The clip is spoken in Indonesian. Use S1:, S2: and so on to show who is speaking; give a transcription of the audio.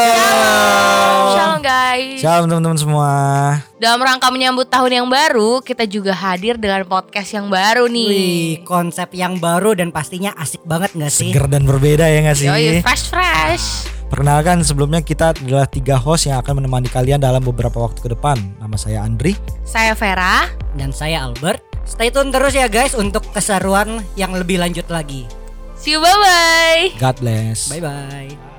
S1: Shalom.
S2: Shalom guys.
S1: Shalom teman-teman semua.
S2: Dalam rangka menyambut tahun yang baru, kita juga hadir dengan podcast yang baru
S3: Wih,
S2: nih.
S3: konsep yang baru dan pastinya asik banget gak Iya sih?
S1: Seger dan berbeda ya nggak sih?
S2: Yoi, fresh fresh.
S1: Perkenalkan sebelumnya kita adalah tiga host yang akan menemani kalian dalam beberapa waktu ke depan. Nama saya Andri.
S2: Saya Vera.
S3: Dan saya Albert. Stay tune terus ya guys untuk keseruan yang lebih lanjut lagi.
S2: See you bye bye.
S1: God bless.
S3: Bye bye.